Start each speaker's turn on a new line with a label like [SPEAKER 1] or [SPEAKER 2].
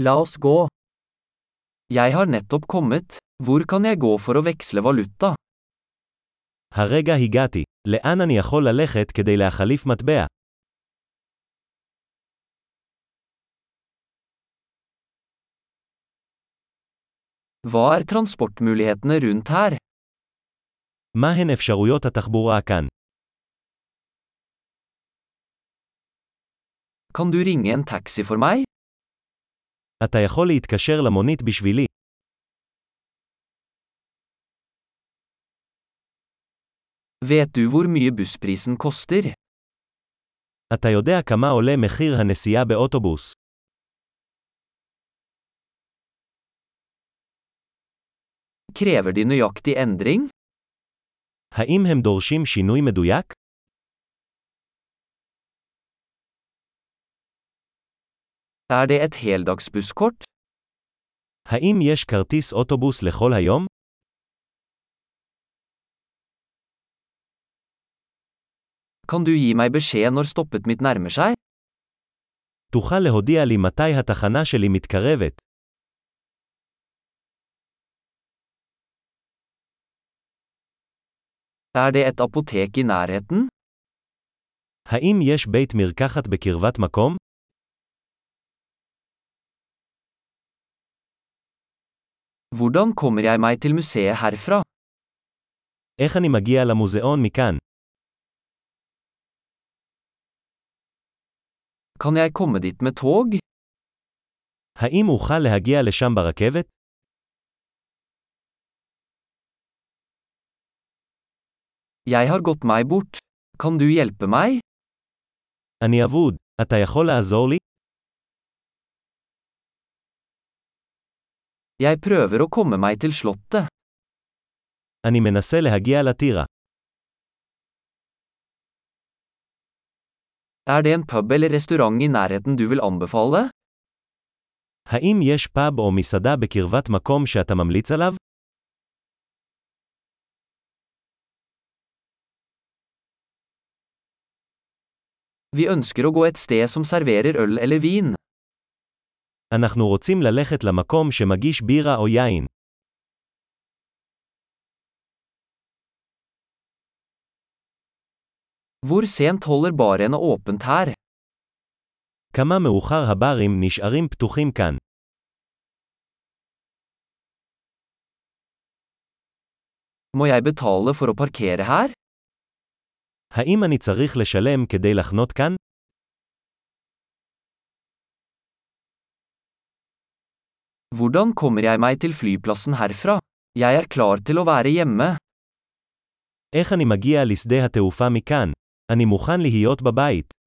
[SPEAKER 1] La oss gå. Jeg har nettopp kommet. Hvor kan jeg gå for å veksle valuta?
[SPEAKER 2] הרגע הגעתי. לאן אני יכול ללכת כדי להחליף מטבע?
[SPEAKER 1] Hva er transportmulighetene rundt her?
[SPEAKER 2] מהן אפשרויות התחבורה כאן?
[SPEAKER 1] Kan du ringe en taxi for meg?
[SPEAKER 2] אתה יכול להתקשר למונית בשבילי.
[SPEAKER 1] Vet du hvor mye bussprisen koster?
[SPEAKER 2] אתה יודע כמה עולה מחיר הנסיעה באוטובוס.
[SPEAKER 1] Krever de nøyaktig endring?
[SPEAKER 2] האם הם דורשים שינוי מדויק?
[SPEAKER 1] Er det et heldagsbusskort?
[SPEAKER 2] האם יש כרטיס אוטובוס לכל היום?
[SPEAKER 1] Kan du gi meg beskjed når stoppet mitt nærmer seg?
[SPEAKER 2] תוכל להודיע לי מתי התחנה שלי מתקרבת.
[SPEAKER 1] Er det et apotek i nærheten?
[SPEAKER 2] האם יש בית מרקחת בקרבת מקום?
[SPEAKER 1] Hvordan kommer jeg meg til museet herfra?
[SPEAKER 2] איך אני מגיע למוזיאון מכאן?
[SPEAKER 1] Kan jeg komme dit med tog?
[SPEAKER 2] האם אוכל להגיע לשם ברכבת?
[SPEAKER 1] Jeg har gått meg bort. Kan du hjelpe meg?
[SPEAKER 2] אני אבוד. אתה יכול לעזור לי?
[SPEAKER 1] Jeg prøver å komme meg til slottet.
[SPEAKER 2] אני מנסה להגיע לטירה.
[SPEAKER 1] Er det en pub eller restaurant i nærheten du vil anbefale?
[SPEAKER 2] האם יש פאב או מסעדה בקרבת מקום שאתה ממליץ עליו?
[SPEAKER 1] Vi ønsker å gå et sted som serverer øl eller vin.
[SPEAKER 2] אנחנו רוצים ללכת למקום שמגיש בירה או יין.
[SPEAKER 1] Hvor sent holder barene åpent her?
[SPEAKER 2] כמה מאוחר הברים נשארים פתוחים כאן.
[SPEAKER 1] Må jeg betale for å parkere her?
[SPEAKER 2] האם אני צריך לשלם כדי לחנות כאן?
[SPEAKER 1] Hvordan kommer jeg meg til flyplassen herfra? Jeg er klar til å være hjemme.
[SPEAKER 2] איך אני מגיע לשדה התעופה מכאן? אני מוכן להיות בבית.